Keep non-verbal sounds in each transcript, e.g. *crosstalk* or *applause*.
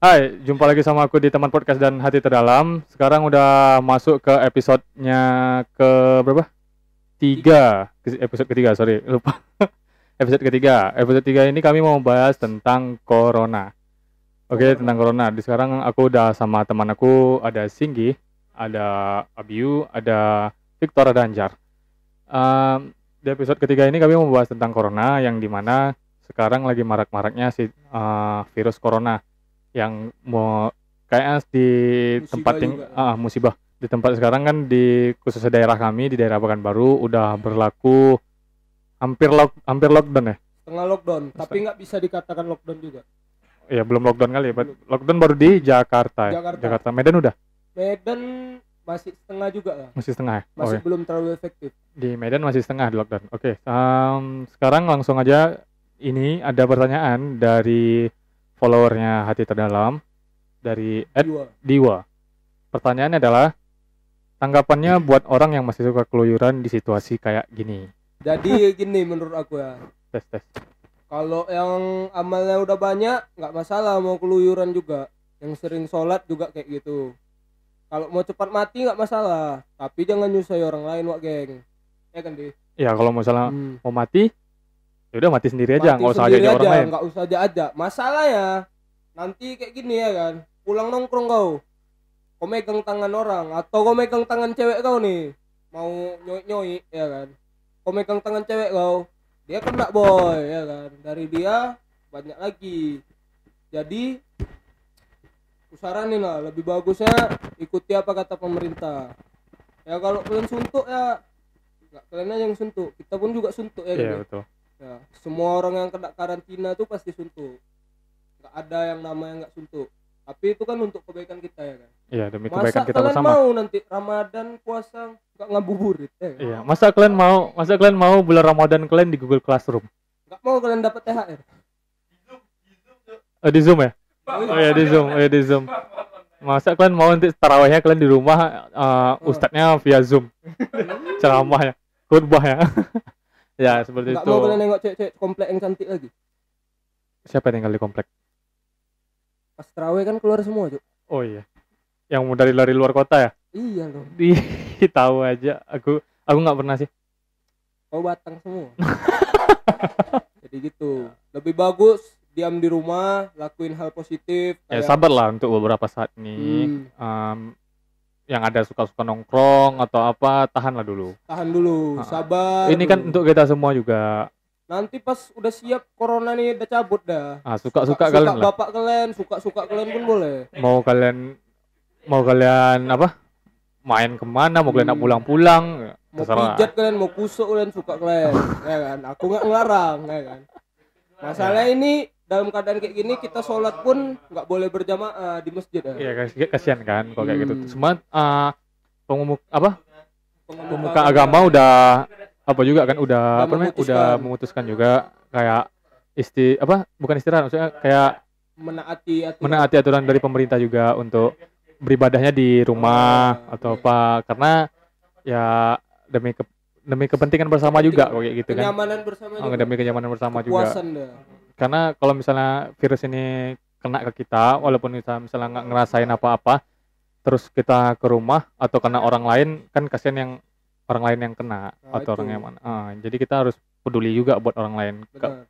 Hai, jumpa lagi sama aku di teman podcast dan hati terdalam. Sekarang udah masuk ke episodenya ke berapa? Tiga, Ke- episode ketiga, sorry, lupa. *laughs* episode ketiga, episode tiga ini kami mau bahas tentang corona. Oke, tentang corona. Di sekarang aku udah sama teman aku ada Singgi, ada Abiu, ada Victor, ada Anjar. Em, di episode ketiga ini kami mau bahas tentang corona yang dimana sekarang lagi marak-maraknya si eh, virus corona yang mau kayaknya di Musibah tempat yang juga. ah, musibah di tempat sekarang kan di khusus daerah kami di daerah Pekanbaru udah berlaku hampir lock hampir lockdown ya Tengah lockdown, tapi nggak bisa dikatakan lockdown juga. ya belum lockdown kali ya but lockdown baru di Jakarta ya? Jakarta. Jakarta Medan udah Medan masih setengah juga lah, masih setengah ya oke masih belum terlalu efektif. di Medan masih setengah di lockdown oke em, sekarang langsung aja ini ada pertanyaan dari followernya hati terdalam dari Ed Dua. Diwa. Pertanyaannya adalah tanggapannya buat orang yang masih suka keluyuran di situasi kayak gini. Jadi gini menurut aku ya, Tes tes. kalau yang amalnya udah banyak nggak masalah mau keluyuran juga, yang sering sholat juga kayak gitu. Kalau mau cepat mati nggak masalah, tapi jangan nyusahin orang lain wak geng. Ya kan deh. Ya kalau misalnya Hmm. mau mati, ya udah mati sendiri aja, Mati nggak usah sendiri ajak orang lain. nggak usah aja masalah ya nanti kayak gini ya kan pulang nongkrong kau kau megang tangan orang atau kau megang tangan cewek kau nih mau nyoik nyoik ya kan kau megang tangan cewek kau dia kena boy ya kan dari dia banyak lagi jadi kusaranin lah lebih bagusnya ikuti apa kata pemerintah ya kalau kalian suntuk ya nggak kalian aja yang suntuk kita pun juga suntuk ya kan Iya ya? betul. Ya, semua orang yang kena karantina tuh pasti suntuk. Nggak ada yang namanya nggak suntuk. Tapi itu kan untuk kebaikan kita ya kan. Iya demi Masa kebaikan kita kalian bersama. mau nanti Ramadan puasa nggak ngabuburit ya? kan? Iya. Masa kalian mau, masa kalian mau bulan Ramadan kalian di Google Classroom? Nggak mau kalian dapat THR. Eh, di Zoom ya? Oh iya di Zoom, oh, iya di Zoom. Masa kalian mau nanti tarawehnya kalian di rumah eh, ustadznya via Zoom ceramahnya, khutbah ya? *laughs* ya seperti Nggak itu. mau kalian nengok cewek-cewek komplek yang cantik lagi. Siapa yang tinggal di komplek? Pas terawih kan keluar semua, Cuk. Oh iya. Yang mau dari lari luar kota ya? *laughs* Iya dong. Di tahu aja. Aku aku nggak pernah sih. Kau batang *laughs* semua. Jadi gitu. Lebih bagus diam di rumah, lakuin hal positif Ya kayak- sabar lah untuk beberapa saat ini. Iya. Hmm, Em, yang ada suka-suka nongkrong atau apa, tahanlah dulu. tahan dulu, Ah. sabar. Ini kan dulu. untuk kita semua juga. nanti pas udah siap corona nih udah cabut dah Ah, suka-suka kalian lah. bapak kalian suka suka kalian pun boleh Mau kalian mau kalian apa? Main kemana? Mau kalian nak Hmm. pulang-pulang? mau Terserah. pijat kalian mau kusuk kalian suka kalian ya kan aku nggak ngelarang ya kan masalah Ya. ini dalam keadaan kayak gini kita sholat pun nggak boleh berjamaah di masjid ya Iya kas- kasihan kan kalau kayak gitu. Hmm. Cuma eh pengumuk apa? Pengemuka- pemuka agama udah apa juga kan udah Udah apa namanya memutuskan. udah memutuskan juga kayak isti apa bukan istirahat maksudnya kayak menaati aturan. menaati kan? aturan dari pemerintah juga untuk beribadahnya di rumah Ah, atau iya. apa karena ya demi ke, demi kepentingan bersama juga kayak gitu kan kenyamanan bersama Oh, juga. demi kenyamanan bersama juga kepuasan dah karena kalau misalnya virus ini kena ke kita walaupun kita misalnya nggak ngerasain apa-apa terus kita ke rumah atau kena orang lain kan kasihan yang orang lain yang kena Nah, atau itu. orang yang mana Ah, jadi kita harus peduli juga buat orang lain Ke- benar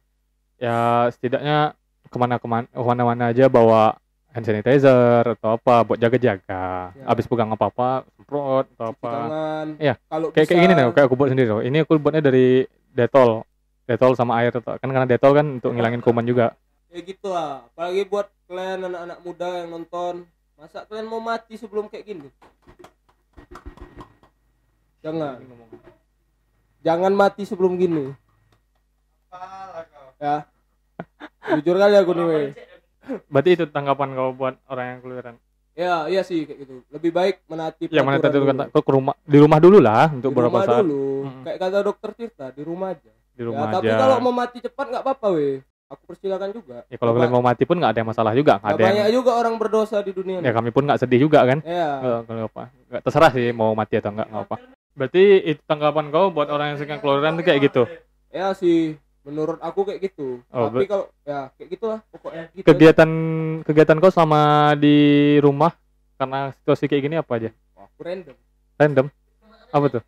ya setidaknya kemana kemana mana mana aja bawa hand sanitizer atau apa buat jaga-jaga Ya. habis pegang apa-apa semprot atau cuci apa tangan Iya. kalau kayak kayak bisa- gini loh kayak aku buat sendiri loh ini aku buatnya dari detol detol sama air kan karena detol kan untuk ngilangin kuman juga ya gitu lah apalagi buat kalian anak-anak muda yang nonton masa kalian mau mati sebelum kayak gini jangan jangan mati sebelum gini ya jujur kali aku nih weh. Berarti itu tanggapan kau buat orang yang keluyuran. ya iya sih kayak gitu lebih baik menaati Yang mana peraturan tadi lu dulu. kata kau ke rumah di rumah dulu lah untuk di beberapa rumah saat dulu Mm-mm. kayak kata dokter Tirta di rumah aja di Ya, rumah aja. tapi kalau mau mati cepat nggak apa-apa weh aku persilakan juga ya kalau kalian mau mati pun nggak ada yang masalah juga, nggak Nggak ada yang banyak juga orang berdosa di dunia ya ini. kami pun nggak sedih juga kan. ya. Kalau kalau apa nggak terserah sih mau mati atau nggak nggak apa. Berarti itu tanggapan kau buat orang yang suka keluyuran itu kayak gitu. Ya sih, menurut aku kayak gitu Oh, tapi kalau ya kayak gitulah pokoknya gitu Kegiatan kegiatan kau selama di rumah karena situasi kayak gini apa aja? aja. Wah, aku random Random. Apa tuh?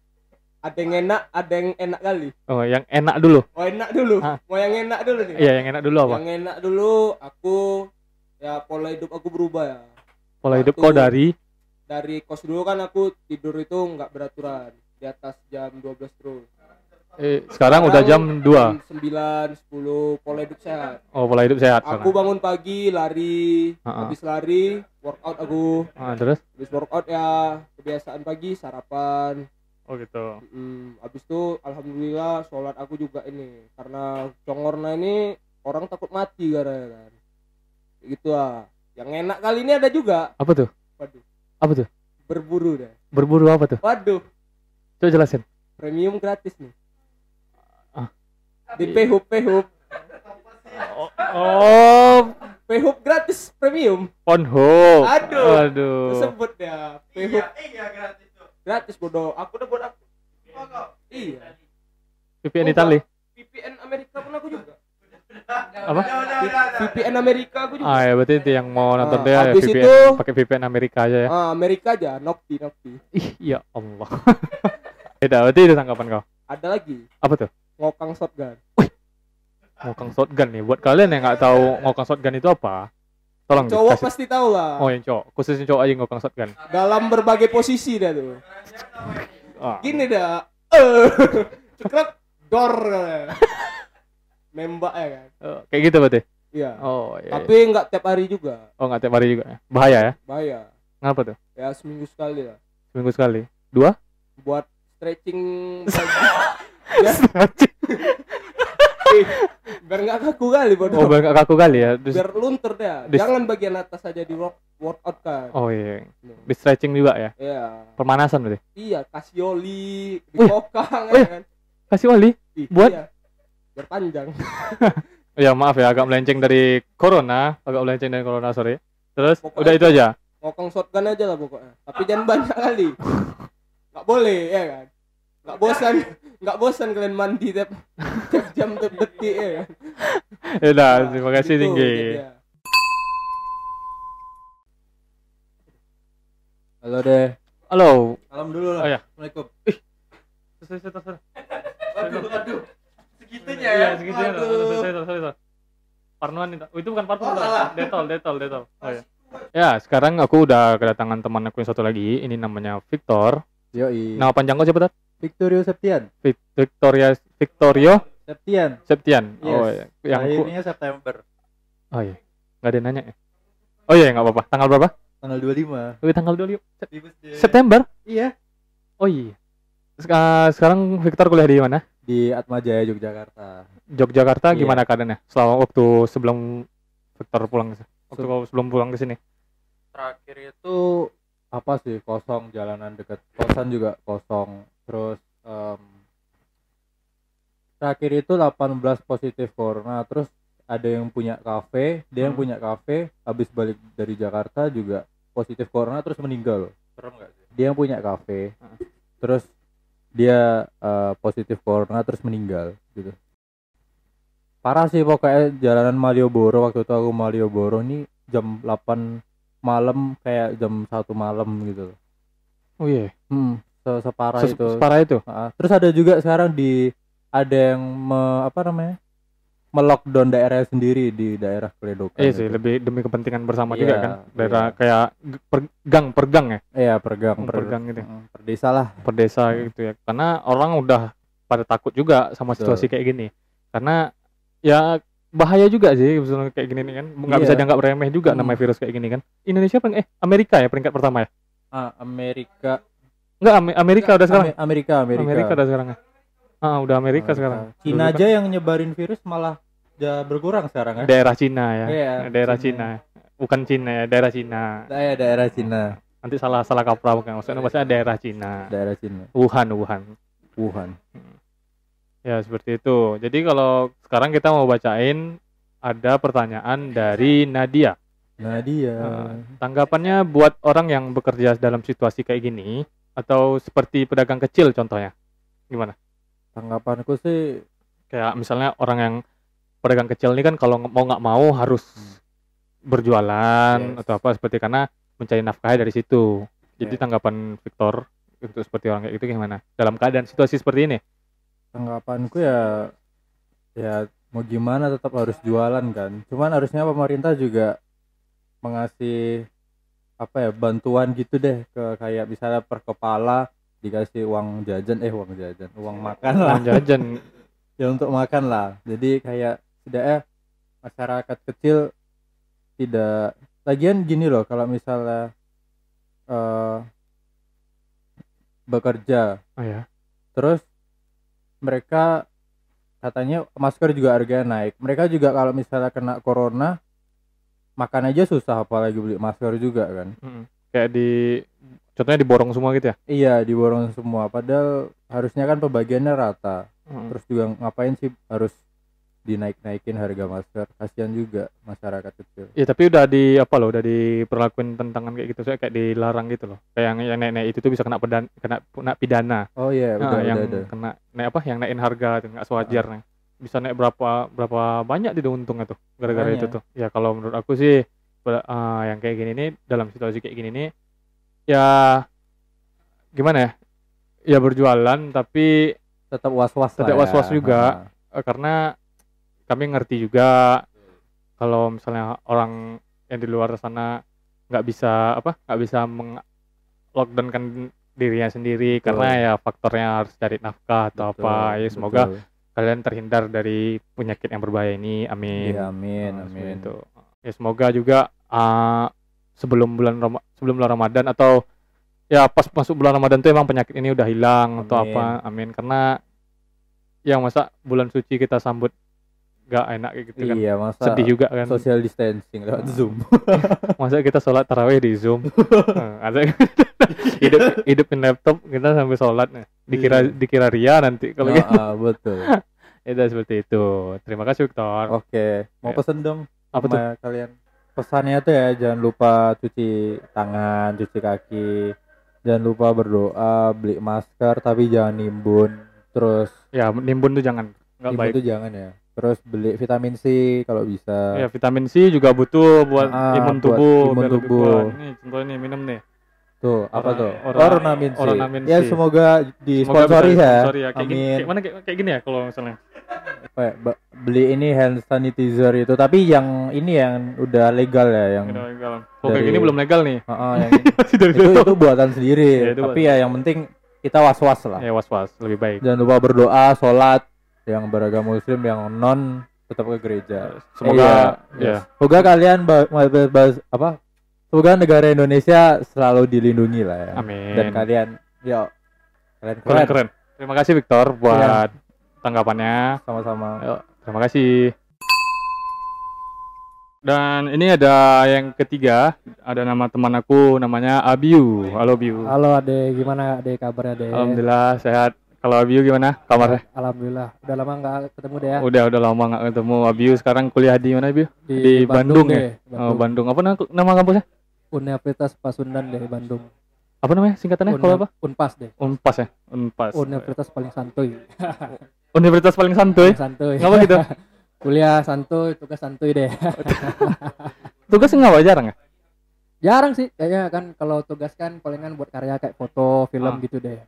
ada yang enak ada yang enak kali Oh, yang enak dulu. mau enak dulu Ah. mau yang enak dulu nih Iya, yang enak dulu apa? yang enak dulu aku ya pola hidup aku berubah ya Pola hidup kau satu. dari dari kos dulu kan aku tidur itu nggak beraturan di atas jam 12 terus eh, sekarang udah jam 2. 9, 10 pola hidup sehat Oh, pola hidup sehat. aku sekarang. bangun pagi lari Ah, ah. habis lari workout aku Ah, terus? habis workout ya kebiasaan pagi sarapan Oh, gitu. Mm, habis itu alhamdulillah sholat aku juga ini karena congorna ini orang takut mati gara kan Kayak gitu ah yang enak kali ini ada juga Apa tuh? waduh Apa tuh? berburu deh Berburu apa tuh? waduh Coba jelasin. premium gratis nih Ah. di PHUB PHUB Oh, oh PHUB gratis premium Pornhub. Aduh. Aduh. tersebut ya PHUB gratis bodoh aku udah buat aku iya VPN Iya, Itali. VPN Amerika pun aku juga Apa? VPN Amerika aku juga Ah, ya berarti itu yang mau nonton Ah, dia ya, habis VPN itu- pakai VPN Amerika aja ya. ah, Amerika aja Nokti Nokti Ih, ya Allah. *laughs* Beda, berarti itu tanggapan kau. ada lagi Apa tuh? ngokang shotgun Ngokang shotgun nih. Buat kalian yang nggak tahu ngokang shotgun itu apa, tolong cowok Oh, dikasih- pasti tahu lah Oh, yang cowok. Khusus yang cowok aja ngokang shotgun. dalam berbagai posisi dah tuh Ah. gini dah eh *laughs* cekrek *laughs* dor nembak ya kan Eh, kayak gitu berarti. iya Oh, iya. iya. tapi nggak tiap hari juga Oh, nggak tiap hari juga. ya. Bahaya ya. bahaya Ngapa tuh? ya seminggu sekali lah Seminggu sekali. buat stretching *laughs* Ya. *laughs* Eh, biar nggak kaku kali oh, bodoh biar nggak kaku kali ya. Terus- biar luntur dah Dis- jangan bagian atas aja di work workout kan Oh iya. Di stretching juga ya. ya Pemanasan berarti. iya kasih oli di Wih. kokang Wih. ya kan Kasih oli. Ih, iya. Oh, Buat? iya. biar panjang Ya maaf ya agak melenceng dari corona, agak melenceng dari corona sorry. Terus Pokoknya- udah itu aja. ngokong shotgun aja lah pokoknya tapi jangan banyak kali nggak boleh ya kan nggak bosan nggak bosan kalian mandi tiap tiap jam tiap detik ya kan Ya udah, terima kasih gitu tinggi. dia. halo deh Halo. salam dulu lah. Oh, iya. assalamualaikum Sorry, sorry, sorry. aduh aduh segitunya Iya, segitu ya. Sorry, sorry, sorry. Parnoan itu. Oh, itu bukan parnoan. Detol, detol, detol. Oh ya. Ya, sekarang aku udah kedatangan teman aku yang satu lagi. Ini namanya Victor. Yoi. Nama panjang kau siapa tadi? Victorio Septian. Vic- Victoria Victorio Septian. Septian. Oh iya. Yes. Yang ku- Lahirnya September Oh iya. Enggak ada yang nanya ya. Oh iya, enggak apa-apa. Tanggal berapa? tanggal 25. Oh, tanggal 2 September. September. Iya. Oh iya. Sek- eh, sekarang Victor kuliah di mana? Di Atmajaya Yogyakarta. Yogyakarta Iya. gimana keadaannya? Selama waktu sebelum Victor pulang ke- waktu Se- kau sebelum pulang ke sini. Terakhir itu apa sih kosong jalanan deket kosan juga kosong. Terus em, terakhir itu 18 positif corona. Terus ada yang punya kafe, dia yang Hmm. punya kafe habis balik dari Jakarta juga positif corona terus meninggal. Serem gak sih? Dia yang punya kafe. Heeh. Terus dia eh, positif corona terus meninggal gitu. Parah sih pokoknya jalanan Malioboro waktu itu aku Malioboro nih jam 8 malam kayak jam satu malam gitu. loh. Oh iya. Hmm, se- separah Se- itu. Separah itu. Heeh. Terus ada juga sekarang di ada yang me- apa namanya? melockdown daerah sendiri di daerah Kledokan. Iya sih, itu. lebih demi kepentingan bersama Iya, juga kan. Daerah iya. kayak g- per- gang per gang ya, Iya, pergang, per, per gang gitu. ya, Mm, per desa lah. Per desa Hmm. gitu ya. Karena orang udah pada takut juga sama Betul. situasi kayak gini. Karena ya bahaya juga sih misalnya kayak gini nih kan. Nggak Iya. bisa dianggap remeh juga Hmm. namanya virus kayak gini kan. Indonesia peng- eh Amerika ya peringkat pertama ya. Ah, Amerika. Enggak Am- Amerika udah sekarang. ya? Ame- Amerika, Amerika. Amerika, udah sekarang ya. Ah, udah Amerika, sekarang. Cina Dulu aja yang nyebarin virus malah udah berkurang sekarang kan kan? Daerah Cina ya. Iya, daerah Cina. Bukan Cina ya, daerah Cina. Saya daerah Cina, Nanti salah salah kaprah bukan. Maksudnya maksudnya daerah Cina. daerah Cina, Wuhan, Wuhan. Wuhan. Ya, seperti itu. Jadi kalau sekarang kita mau bacain ada pertanyaan dari Nadia. Nah dia. Eh, tanggapannya buat orang yang bekerja dalam situasi kayak gini atau seperti pedagang kecil contohnya. Gimana? Tanggapanku sih kayak misalnya orang yang pedagang kecil ini kan kalau nge- mau nggak mau harus berjualan Yes. atau apa seperti karena mencari nafkahnya dari situ. Jadi Yes. tanggapan Victor untuk seperti orang kayak gitu gimana? Dalam keadaan situasi seperti ini? tanggapanku ya ya mau gimana tetap harus jualan kan cuman harusnya pemerintah juga mengasih apa ya bantuan gitu deh ke kayak misalnya per kepala dikasih uang jajan eh uang jajan uang makan lah Uang jajan ya untuk makan lah jadi kayak setidaknya masyarakat kecil tidak lagian gini loh kalau misalnya eh bekerja Oh ya. terus mereka katanya masker juga harganya naik mereka juga kalau misalnya kena corona makan aja susah apalagi beli masker juga kan Mm-mm. Hmm. Kayak di contohnya diborong semua gitu ya. iya diborong semua padahal harusnya kan pembagiannya rata Mm. terus juga ngapain sih harus dinaik-naikin harga masker kasihan juga masyarakat kecil Iya, tapi udah di apa loh, udah diperlakuin tentangan kayak gitu, saya kayak dilarang gitu loh. Kayak yang, yang naik-naik itu tuh bisa kena pedan kena kena pidana. oh iya Nah, udah, yang udah, Ah. udah. kena naik apa? Yang naikin harga tuh nggak sewajarnya. Bisa naik berapa berapa banyak dia untungnya tuh gara-gara itu Makanya. tuh. Ya kalau menurut aku sih pe- ah, yang kayak gini nih dalam situasi kayak gini nih ya gimana ya? Ya berjualan tapi tetap was-was lah Tetap ya. was-was juga. Ha. Eh, karena kami ngerti juga kalau misalnya orang yang di luar sana nggak bisa apa nggak bisa meng lockdown kan dirinya sendiri Betul. karena ya faktornya harus cari nafkah atau Nah, Betul, apa ya semoga betul. kalian terhindar dari penyakit yang berbahaya ini amin Iya, amin Nah, seperti amin itu. ya semoga juga ah, sebelum bulan Rama- sebelum bulan Ramadan atau ya pas masuk bulan Ramadan tuh emang penyakit ini udah hilang atau Amin. apa amin karena yang masa bulan suci kita sambut gak enak kayak gitu kan iya masa sedih juga kan social distancing lewat Ah. zoom masa kita sholat tarawih di *laughs* zoom Eh, ada *laughs* hidup hidupin laptop kita sampai sholat nih dikira Iya. dikira ria nanti kalau Ah, ah, betul gitu. Ya, seperti itu terima kasih Victor oke mau Ya. pesen dong apa tuh sama kalian pesannya tuh ya jangan lupa cuci tangan cuci kaki jangan lupa berdoa beli masker tapi jangan nimbun terus ya nimbun tuh jangan nggak nimbun baik tuh jangan ya terus beli vitamin C kalau bisa Ya vitamin C juga butuh buat Ah, imun buat tubuh. imun biar lebih tubuh. kuat. Nih contohnya nih minum nih. tuh apa Orang- tuh orang- Oronamin C. Oronamin ya C. semoga Semoga disponsori bisa ya disponsori Kayak gini, amin kayak mana kayak, kayak gini ya kalau misalnya. Apa ya, ba- beli ini hand sanitizer itu tapi yang ini yang udah legal ya yang Gini, legal. Kalau "Oh, kayak Dari- gini belum legal nih. *laughs* Ah, ah, yang ini. Masih dari itu, situ. itu buatan sendiri Ya, itu tapi ya yang penting kita was was lah Ya was-was lebih baik. jangan lupa berdoa sholat yang beragama muslim yang non tetap ke gereja Semoga ya. Iya, iya. semoga kalian ba- ma- ba- ba- apa semoga negara Indonesia selalu dilindungi lah ya Amin. dan kalian ya kalian keren, keren, keren. Terima kasih Victor Iya. buat tanggapannya. sama-sama Ayo, terima kasih. Dan ini ada yang ketiga, ada nama teman aku namanya Abiu. Halo Abiu. Halo Ade, gimana Ade kabarnya Ade? Alhamdulillah sehat. Kalau Abiu gimana kabarnya? Alhamdulillah. Udah lama nggak ketemu deh ya Udah udah lama nggak ketemu Abiu sekarang kuliah di mana Abiu? di, Bandung ya? deh. Oh, Bandung. Bandung. Apa nama, nama kampusnya? Universitas Pasundan deh Bandung. Apa namanya singkatannya? Kalau apa? Unhap- Unpas deh. Unpas ya. Unpas. Universitas paling santuy. Universitas paling santuy. Paling santuy. Ngapa gitu? Kuliah santuy, tugas santuy deh. *laughs* Tugas nggak apa jarang ya? Jarang sih kayaknya kan kalau tugas kan palingan buat karya kayak Ah. foto, film gitu deh.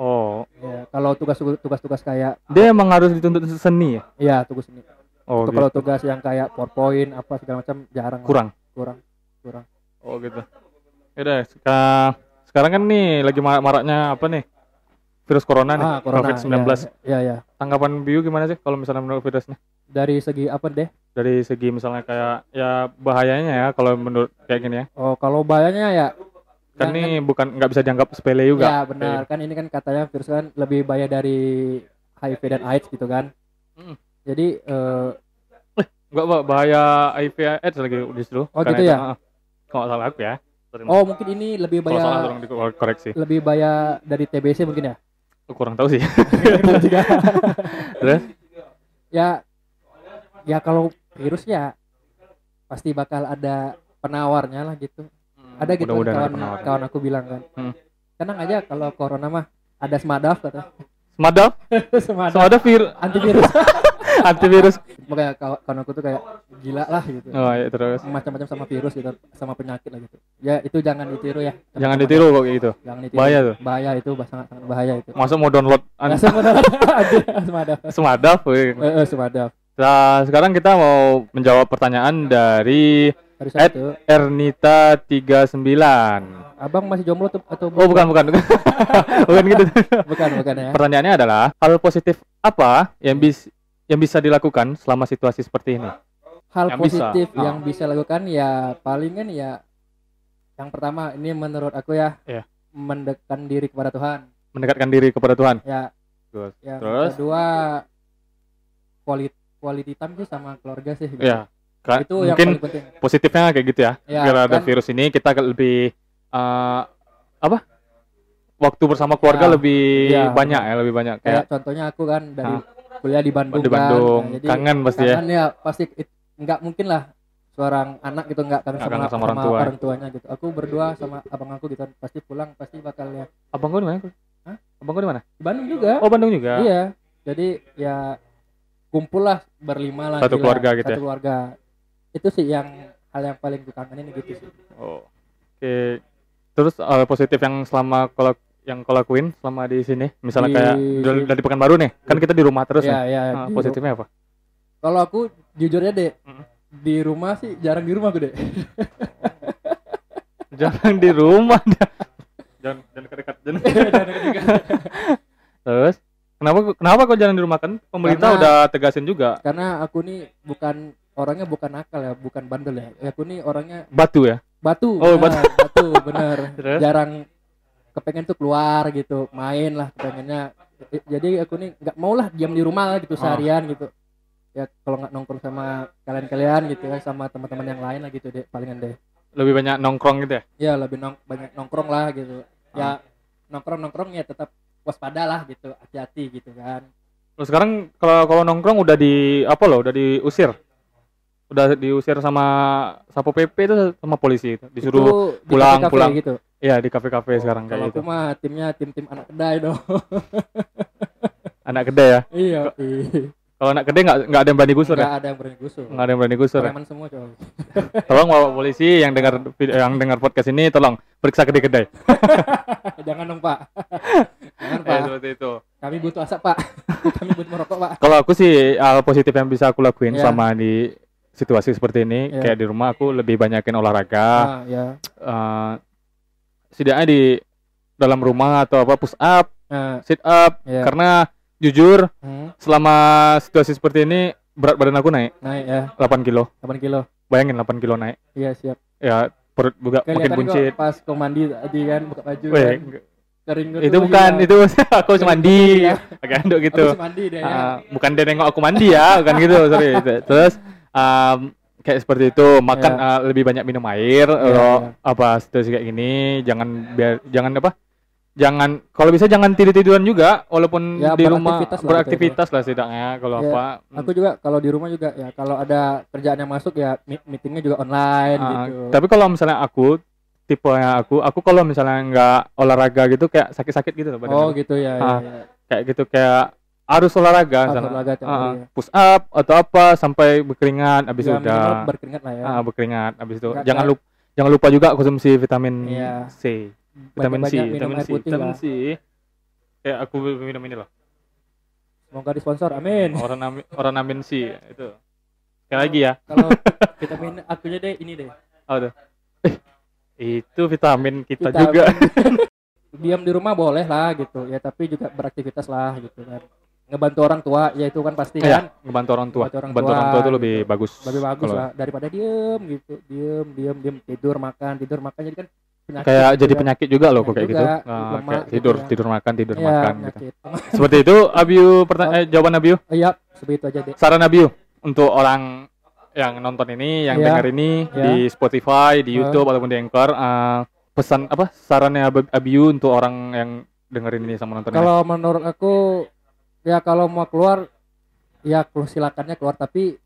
Oh, Ya, kalau tugas tugas-tugas kayak dia emang harus dituntut seni ya? ya tugas ini. Oh, Kalau tugas yang kayak PowerPoint apa segala macam jarang. lah. kurang. Kurang. Oh gitu. Yaudah, seka- sekarang kan nih lagi ma- maraknya apa nih? Virus corona nih, Ah, corona. COVID-19. Ya, ya, ya. Tanggapan Biu gimana sih kalau misalnya menurut virusnya? Dari segi apa deh? dari segi misalnya kayak ya bahayanya ya kalau menurut kayak gini ya Oh, kalau bahayanya ya kan jangan- ini bukan nggak bisa dianggap sepele juga Ya benar kan ini kan katanya virus kan lebih bahaya dari HIV dan AIDS gitu kan. Mm. Jadi eh, nggak Pak, bahaya HIV AIDS lagi justru Oh, Karena gitu itu, ya? ah, kalau nggak salah aku ya Sorry, oh mungkin ini lebih kalau salah bahaya tolong dikoreksi lebih bahaya dari TBC mungkin ya. Aku kurang tahu sih Juga. Terus? ya ya kalau virusnya pasti bakal ada penawarnya lah gitu. Ada gitu kan Mudah-mudahan ada kawan penawar. kawan aku bilang kan. Mm. Tenang aja *laughs* kalau corona mah ada semadaf katanya. semadaf semadaf semadaf vir antivirus. antivirus makanya kaw- kawan aku tuh kayak gila lah gitu oh ya terus macam-macam sama virus gitu sama penyakit lah gitu ya itu jangan ditiru ya jangan ditiru kok kayak gitu jangan ditiru bahaya tuh bahaya itu bah- sangat sangat bahaya itu masuk mau download an- langsung ada *laughs* semadaf semadaf weh. eh eh, semadaf nah sekarang kita mau menjawab pertanyaan dari harus Ed. itu Ernita 39 abang masih jomblo tuh atau oh bukan bukan *laughs* bukan, bukan gitu bukan bukan ya pertanyaannya adalah hal positif apa yang bis yang bisa dilakukan selama situasi seperti ini hal Yang bisa. positif Ah. yang bisa lakukan ya palingan ya yang pertama ini menurut aku ya Iya. mendekatkan diri kepada Tuhan mendekatkan diri kepada Tuhan ya Terus. yang Terus? kedua quality quality time sih sama keluarga sih gitu. ya ka- itu yang mungkin paling penting positifnya kayak gitu ya ya gara ada kan? virus ini kita agak lebih eh, apa waktu bersama keluarga Ya, lebih iya. banyak ya lebih banyak kayak kayak contohnya aku kan dari kuliah di Bandung, di kan. Bandung Nah, jadi kangen pasti ya kangen ya pasti it- nggak mungkin lah seorang anak gitu nggak kangen Nggak sama, kangen sama orang tua. tuanya gitu aku berdua sama abang aku gitu kan pasti pulang pasti bakal ya abang gua di mana Hah? abang gua di mana di Bandung juga oh Bandung juga Iya. Jadi ya kumpul lah berlima lah. ya. Satu keluarga gitu Satu keluarga. Itu sih yang hal yang paling dikangenin gitu sih. oh. oke terus hal positif yang selama kalau yang kau lakuin selama di sini misalnya Di- kayak dari, dari pekanbaru nih kan kita di rumah terus nih ya, ya. Nah, Di- positifnya apa Kalau aku jujurnya deh Mm. di rumah sih jarang di rumah *laughs* aku deh. jangan di rumah jangan jangan dekat jangan terus kenapa kenapa kok jangan di rumah kan pemerintah Karena- udah tegasin juga Karena aku nih bukan orangnya bukan nakal ya, bukan bandel ya. Aku nih orangnya batu ya batu. Oh, benar, batu bener. *laughs* Terus? Jarang kepengen tuh keluar gitu, main lah kepengennya. Jadi aku nih nggak mau lah diam di rumah gitu Ah. seharian gitu. Ya kalau nggak nongkrong sama kalian-kalian gitu ya, sama teman-teman yang lain lah gitu deh palingan deh. lebih banyak nongkrong gitu ya Ya lebih nong banyak nongkrong lah gitu. Oh. Ya nongkrong nongkrong ya tetap waspada lah gitu, hati-hati gitu kan. terus sekarang kalau kalau nongkrong udah di apa loh udah diusir udah diusir sama sapo pp itu sama polisi itu disuruh Itu di pulang, kafe-kafe pulang. gitu. ya di kafe kafe sekarang kayak Kalau aku gitu mah timnya tim-tim anak kedai dong. anak gede ya iya. kalau anak gede nggak nggak ada yang berani gusur ya Enggak ada yang berani gusur. nggak ada yang berani gusur ya? Preman semua coy. *laughs* tolong bawa polisi yang dengar vid- yang dengar podcast ini tolong periksa kedai kedai Jangan dong, *laughs* Pak. Jangan, ya, Pak. seperti itu Kami butuh asap, Pak. *laughs* Kami butuh merokok, Pak. kalau aku sih hal positif yang bisa aku lakuin Iya. sama di situasi seperti ini Iya. kayak di rumah aku lebih banyakin olahraga Ah, ya. eh, setidaknya di dalam rumah atau apa push up Nah, sit up ya. karena jujur Hmm, selama situasi seperti ini berat badan aku naik naik ya, 8 kilo 8 kilo. bayangin 8 kilo naik Iya, siap. ya perut juga makin Kelihatan buncit kok pas kau mandi tadi kan buka baju Weh, kan. Kering gitu itu tuh bukan hilang. itu *laughs* aku harus mandi Iya. pakai handuk gitu Habis mandi deh ya. Ah, bukan dia nengok aku mandi ya, bukan gitu, sorry. Terus um, kayak seperti itu, makan Ya. ah, lebih banyak minum air, Iya, kalau apa situasi kayak gini, jangan biar jangan apa? Jangan kalau bisa jangan tidur-tiduran juga walaupun Ya, di rumah beraktivitas lah beraktivitas lah setidaknya kalau Ya, apa. Aku juga kalau di rumah juga ya kalau ada kerjaan yang masuk ya mi- meetingnya juga online Ah, gitu. Tapi kalau misalnya aku tipe yang aku, aku kalau misalnya nggak olahraga gitu kayak sakit-sakit gitu loh badan. Oh gitu ya. ya, Ah, ya. Kayak gitu kayak harus olahraga Harus misalnya. olahraga tiap hari Ah, ya. push up atau apa sampai berkeringat habis itu Ya, minimal udah berkeringat lah ya. Ah, berkeringat abis itu. Berkeringat. jangan lupa jangan lupa juga konsumsi vitamin Iya. C, vitamin C, Banyak-banyak minum vitamin air C, putih vitamin lah. C. Ya aku minum ini loh. Semoga disponsor. Amin. Orang amin, orang amin C Iya. itu. Sekali lagi ya. kalau kita main akunya deh ini deh Oh, tuh. Eh, itu vitamin kita, Vitamin. juga. diam di rumah boleh lah gitu ya tapi juga beraktivitas lah gitu kan ngebantu orang tua ya itu kan pasti ya, kan ngebantu orang tua. Ngebantu orang Ngebantu orang tua tua itu lebih gitu. bagus. lebih bagus kalau- lah daripada diem gitu diem diem diem tidur makan tidur makan jadi kan penyakit Kayak gitu jadi kan. penyakit juga loh kok kayak Penyakit gitu. juga, Ah, lemak kayak gitu tidur, ya. tidur makan, tidur Iya, makan gitu. penyakit Seperti itu Abiu pertanyaan eh, jawaban Abiu. iya seperti itu aja deh saran Nabiu untuk orang yang nonton ini, yang Iya. dengar ini Iya. di Spotify, di Heeh. YouTube ataupun di Anchor, eh, pesan apa sarannya Ab- Abiu untuk orang yang dengerin ini sama nonton ini? kalau menurut aku ya kalau mau keluar ya kelu- silakannya keluar tapi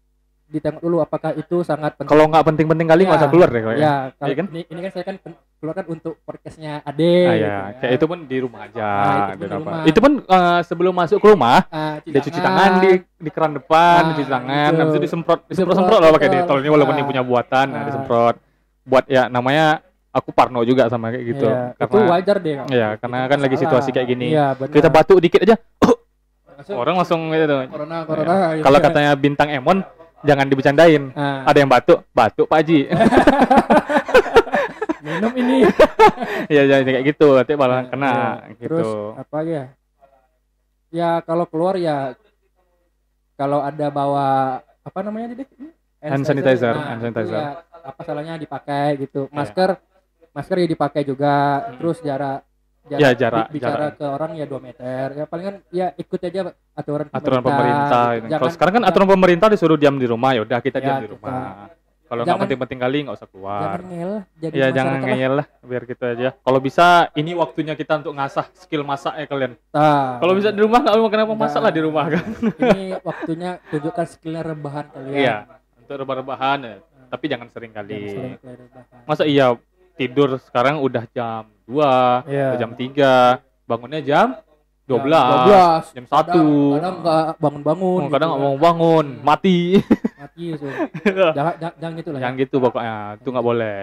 ditengok dulu apakah itu sangat penting. Kalau nggak penting-penting kali nggak Ya. usah keluar deh kalau ya. ya, kalau Iya kan? ini, ini kan saya kan pen- keluarkan untuk podcastnya Ade. Ah, gitu ya. ya. Kayak itu pun di rumah aja. Ah, itu pun biar di apa. rumah. itu pun eh, sebelum masuk ke rumah Ah, dia cuci tangan di di keran depan, Nah, cuci tangan, gitu. habis itu disemprot, disemprot Disemprot, semprot loh pakai betul. Dettol ini walaupun Nah. ini punya buatan, nah, Nah. disemprot. Buat ya namanya aku Parno juga sama kayak gitu. Iya, itu karena wajar deh. Kak. Iya, Itu karena nggak kan lagi masalah. situasi kayak gini. Iya, benar. kita batuk dikit aja, Langsung orang langsung gitu. Nah. tuh. corona corona. gitu. Kalau katanya bintang Emon jangan dibecandain. Ah, Ada yang batuk, batuk Pak Haji. Nah. minum ini. *laughs* Iya, jadi kayak gitu. Nanti malah Iya, kena iya. gitu. Terus apa ya? Ya kalau keluar ya kalau ada bawa apa namanya tadi? Hand sanitizer, Nah, hand itu sanitizer. Iya. ya, apa salahnya dipakai gitu. Masker masker ya dipakai juga. Terus jarak Ya, jarak, bi- bicara ke orang ya 2 meter. Ya palingan ya ikut aja aturan aturan pemerintah. ini. gitu. Kalau Jangan- sekarang kan jangan- aturan pemerintah disuruh diam di rumah, ya udah kita diam Ya, di kita- rumah. Kalau nggak Jangan- penting-penting kali nggak usah keluar. jangan gitu ngel jadi Ya jangan masyarakat lah. ngeyel lah, biar gitu aja. Kalau bisa ini waktunya kita untuk ngasah skill masak ya kalian. Nah, Kalau bisa di rumah nggak mau kenapa Nah. masak lah di rumah *laughs* kan. ini waktunya tunjukkan skillnya rebahan kalian. Iya. Untuk rebah-rebahan ya. Tapi jangan sering Jangan kali. sering kalian rebahan. Masa iya tidur sekarang udah jam 2, Iya. jam 3, bangunnya jam 12. 12. Jam Kadang- 1. Kadang nggak bangun-bangun. Oh, kadang gitu nggak kan. mau bangun, *laughs* mati. Mati *laughs* gitu. jangan, jangan, jangan gitu lah. ya. Jangan gitu pokoknya, itu nggak boleh.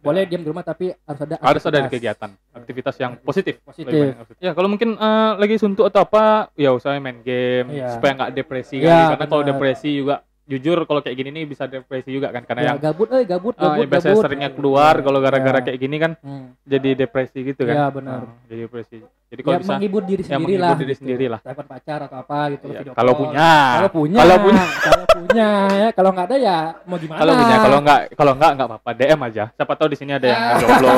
Boleh diam di rumah tapi harus ada Harus ada aktivitas kegiatan, aktivitas yang positif. positif. Ya kalau mungkin eh, lagi suntuk atau apa, ya usahanya main game Iya. supaya nggak depresi Iya, kali. Karena kalau benar. depresi juga, jujur kalau kayak gini nih bisa depresi juga kan. Karena Ya, yang gabut, eh gabut, eh, gabut, biasanya gabut. seringnya keluar, kalau gara-gara Ya. kayak gini kan Hmm. jadi depresi gitu kan. Ya, benar. Nah, jadi depresi. Jadi kalau Ya, bisa, menghibur diri ya sendiri menghibur lah. diri gitu. sendiri lah. Telepon pacar atau apa gitu. Iya, video kalau call. punya, Kalau punya. Kalau punya. *laughs* kalau punya. Ya, kalau nggak ada ya mau gimana? kalau punya, kalau nggak, kalau nggak nggak apa-apa. DM aja. Siapa tahu di sini ada yang jomblo.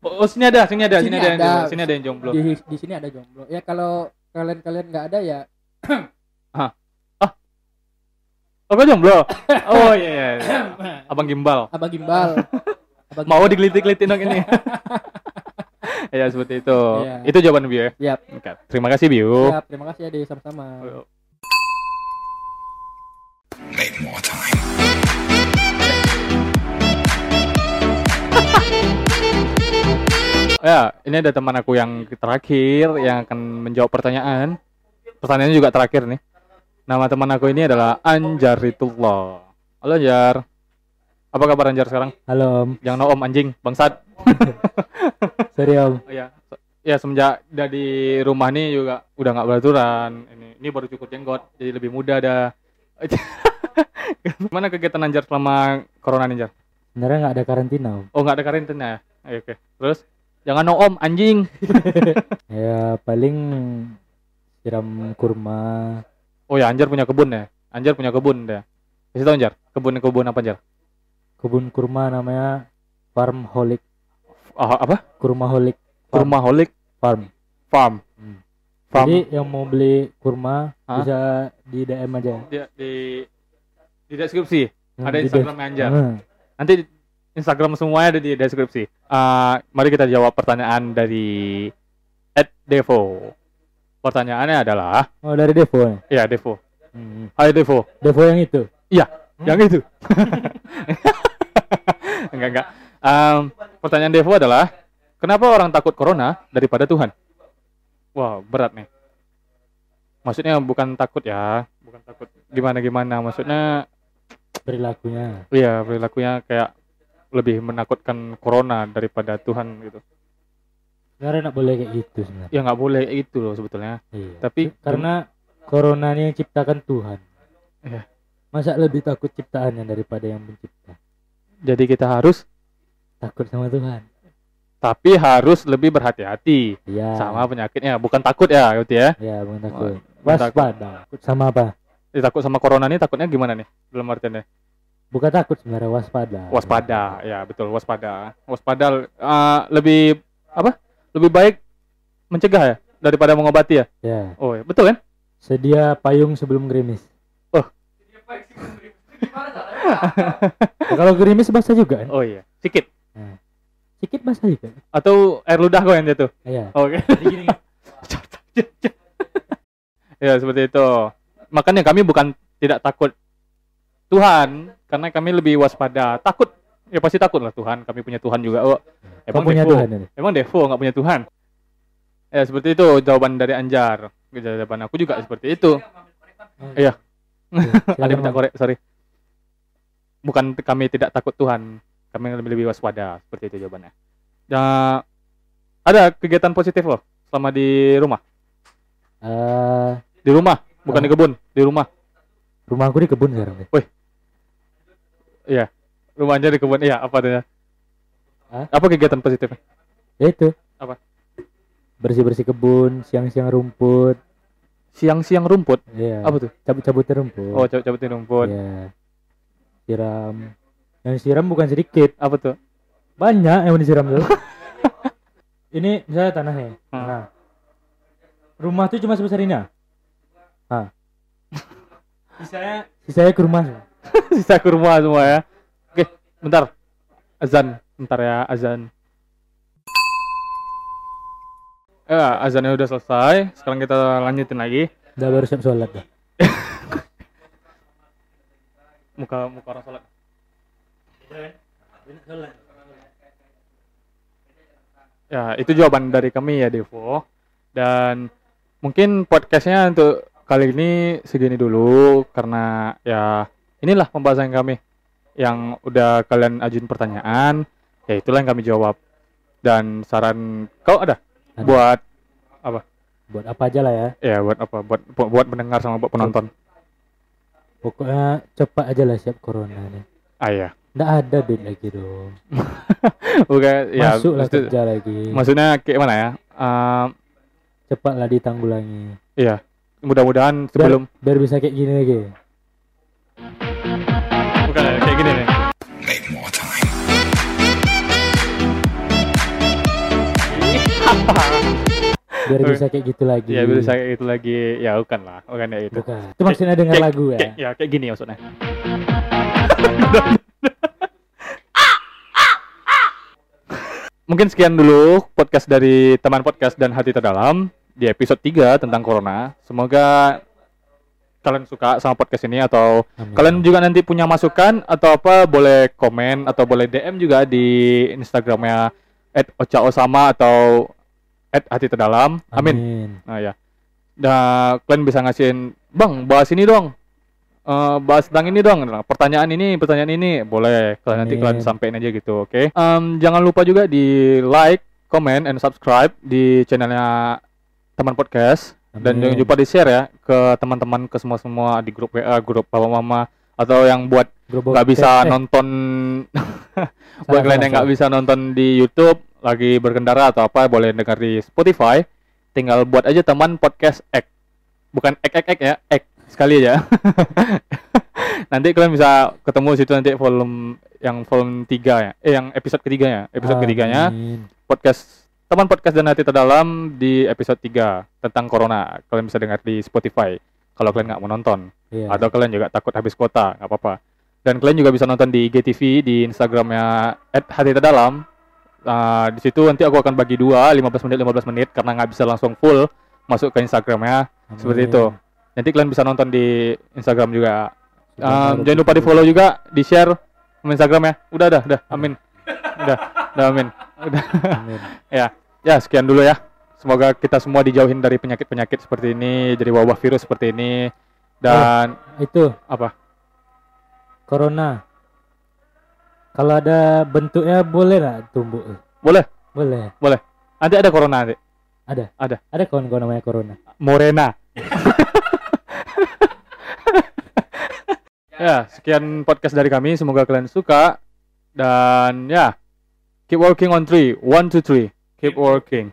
Oh, oh, sini ada, sini ada, sini, ada, yang Ah. Sini ada. jomblo, sini ada yang jomblo. di, di sini ada jomblo. Ya kalau kalian-kalian nggak ada ya Oh, kau jomblo? Oh iya, iya, iya. Abang Gimbal. Abang *laughs* Gimbal. Abang Mau digelitik-gelitik dong *laughs* ini. ya seperti itu. Iya. Itu jawaban Biu ya. Yap. Oke, Terima kasih Biu. Siap, Iya, terima kasih ya deh sama-sama. Iya. Make more time. Ya, ini ada teman aku yang terakhir yang akan menjawab pertanyaan. Pertanyaannya juga terakhir nih. Nama teman aku ini adalah Anjaritullah. Halo Anjar. Apa kabar Anjar sekarang? Halo Om, Jangan no om anjing, bangsat. *laughs* sorry Om. Oh, Iya. Ya semenjak dari rumah nih juga udah nggak beraturan. Ini ini baru cukur jenggot, jadi lebih muda dah. *laughs* Gimana kegiatan Anjar selama corona nih, Anjar? Sebenarnya nggak ada karantina Om. Oh, nggak ada karantina ya? Ayo, Oke. Terus jangan no om anjing. Ya paling siram kurma, Oh ya, Anjar punya kebun ya. Anjar punya kebun deh. Kasih tau Anjar, kebun-kebun apa Anjar? kebun kurma namanya Farm Holic, Ah, apa? Kurma Holic Farm. Kurma Holik Farm. Farm. Hmm. Farm Jadi yang mau beli kurma Hah? bisa di DM aja. di, di, di deskripsi. Hmm, ada di DM. Instagramnya Anjar. Hmm. Nanti Instagram semuanya ada di deskripsi. Eh, mari kita jawab pertanyaan dari at Devo. Pertanyaannya adalah, Oh dari Devo. ya? ya Devo. Hmm. Hai Devo, Devo yang itu. yang *laughs* itu. enggak enggak. Em, pertanyaan Devo adalah, kenapa orang takut corona daripada Tuhan? Wah berat nih. Maksudnya bukan takut ya, bukan takut gimana gimana. Maksudnya perilakunya Iya, perilakunya kayak lebih menakutkan corona daripada Tuhan gitu. sebenarnya nggak boleh kayak gitu sebenarnya Ya nggak boleh itu loh sebetulnya. Iya. Tapi- karena corona ini yang ciptakan Tuhan Iya. masa lebih takut ciptaannya daripada yang mencipta Jadi kita harus takut sama Tuhan tapi harus lebih berhati-hati iya sama penyakitnya, bukan takut ya gitu ya. iya bukan Oh, takut bukan waspada takut sama apa Eh, takut sama corona nih takutnya gimana nih? Dalam artiannya bukan takut sebenarnya waspada waspada, ya betul waspada. Waspada eh, lebih apa? Lebih baik mencegah ya daripada mengobati ya. ya Oh, ya, betul kan? sedia payung sebelum gerimis Oh. *laughs* Ya, kalau gerimis basah juga kan Oh iya, sikit sedikit basah Nah. juga atau air ludah kok yang jatuh. iya Oke. *laughs* ya seperti itu. Makanya kami bukan tidak takut Tuhan karena kami lebih waspada takut ya pasti takut lah Tuhan kami punya Tuhan juga oh Kau punya Devo- Tuhan ini. Emang Devo nggak punya Tuhan? Ya seperti itu jawaban dari Anjar. Jawaban aku juga seperti itu. *laughs* Ada yang minta korek, sorry. Bukan t- kami tidak takut Tuhan, kami lebih lebih waspada seperti itu jawabannya. Ya, ada kegiatan positif loh selama di rumah, Eh, di rumah, bukan di kebun, di rumah. rumahku di kebun sekarang. Nih. Rumah Anjar di kebun, iya apa adanya. Hah? Apa kegiatan positifnya? Ya itu. Apa? Bersih-bersih kebun, siang-siang rumput, Siang-siang rumput, ya. apa tuh? Cabut-cabutin Iya. rumput. Oh, cabut cabutin rumput. Iya. Siram. Yang siram bukan sedikit, Apa tuh? banyak yang disiram *laughs* tuh. ini misalnya tanah nih. Hmm. Tanah. Rumah tuh cuma sebesar ini. ah. Ah. *laughs* Sisanya sisanya ke rumah. *laughs* Sisa ke rumah semua ya. Oke, bentar. Azan, bentar ya azan. Ya, azannya udah selesai. Sekarang kita lanjutin lagi. Udah baru siap sholat dah. Muka muka orang sholat. Ya, itu jawaban dari kami ya, Devo. Dan mungkin podcastnya untuk kali ini segini dulu karena ya inilah pembahasan kami yang udah kalian ajuin pertanyaan, ya itulah yang kami jawab. Dan saran kau ada, Ada. buat Buat apa aja lah ya. ya buat apa? Buat buat buat pendengar sama buat penonton. Pokoknya cepat aja lah siap corona nih. Ah ya. Nggak ada duit lagi dong. Oke, ya. Masuklah maksud- kerja lagi. maksudnya kayak mana ya? Eh, Cepatlah ditanggulangi. mudah-mudahan sebelum Biar bisa kayak gini lagi. bukan kayak gini nih. Make more time. Biar Oke. bisa kayak gitu lagi. Ya bisa kayak gitu lagi. Ya bukan lah, bukan kayak gitu. Bukan. Itu maksudnya dengar Kayak- lagu ya. Kayak, ya kayak gini maksudnya. *laughs* Mungkin sekian dulu podcast dari teman podcast dan hati terdalam di episode 3 tentang corona. Semoga kalian suka sama podcast ini atau Amin. Iya. kalian juga nanti punya masukan atau apa boleh komen atau boleh DM juga di Instagramnya @ocaosama atau @hati terdalam. Amin. Amin. Nah ya. Nah, kalian bisa ngasihin, "Bang, bahas ini dong." Eh, bahas tentang ini dong. Nah, Pertanyaan ini, pertanyaan ini boleh kalian nanti Amin. kalian sampaikan aja gitu, oke? Em, jangan lupa juga di like, comment, and subscribe di channelnya teman podcast Amin. dan jangan lupa di share ya ke teman-teman ke semua semua di grup WA, grup papa mama atau yang buat Gerobok nggak teh. bisa Eh, *laughs* nonton buat salah, kalian yang salah, nggak bisa nonton di YouTube lagi berkendara atau apa boleh dengar di Spotify tinggal buat aja teman podcast X bukan ek ek ek ya ek sekali aja *laughs* nanti kalian bisa ketemu situ nanti volume yang volume 3 ya eh yang episode ketiganya salah. episode ketiganya Amin. podcast teman podcast dan hati terdalam di episode 3 tentang corona kalian bisa dengar di Spotify kalau kalian nggak mau nonton Iya. atau kalian juga takut habis kuota nggak apa-apa dan kalian juga bisa nonton di IGTV di Instagramnya @hati terdalam Nah, di situ nanti aku akan bagi dua 15 menit 15 menit karena nggak bisa langsung full masuk ke Instagramnya Amin. seperti Iya, itu nanti kalian bisa nonton di Instagram juga Iya, Sudah Um, taruh jangan lupa di situ. follow juga, di share sama Instagram ya. Udah, dah, dah, amin. Udah, udah, amin. Udah. Amin. *laughs* Ya, sekian dulu ya. Semoga kita semua dijauhin dari penyakit-penyakit seperti ini, dari wabah virus seperti ini. Dan Itu apa? corona. Kalau ada bentuknya boleh lah tumbuk. Boleh. Boleh. nanti ada corona nanti. Ada kawan kawan namanya corona. *laughs* Morena. ya, sekian podcast dari kami. Semoga kalian suka. Dan ya, keep working on three. One, two, three. Keep working.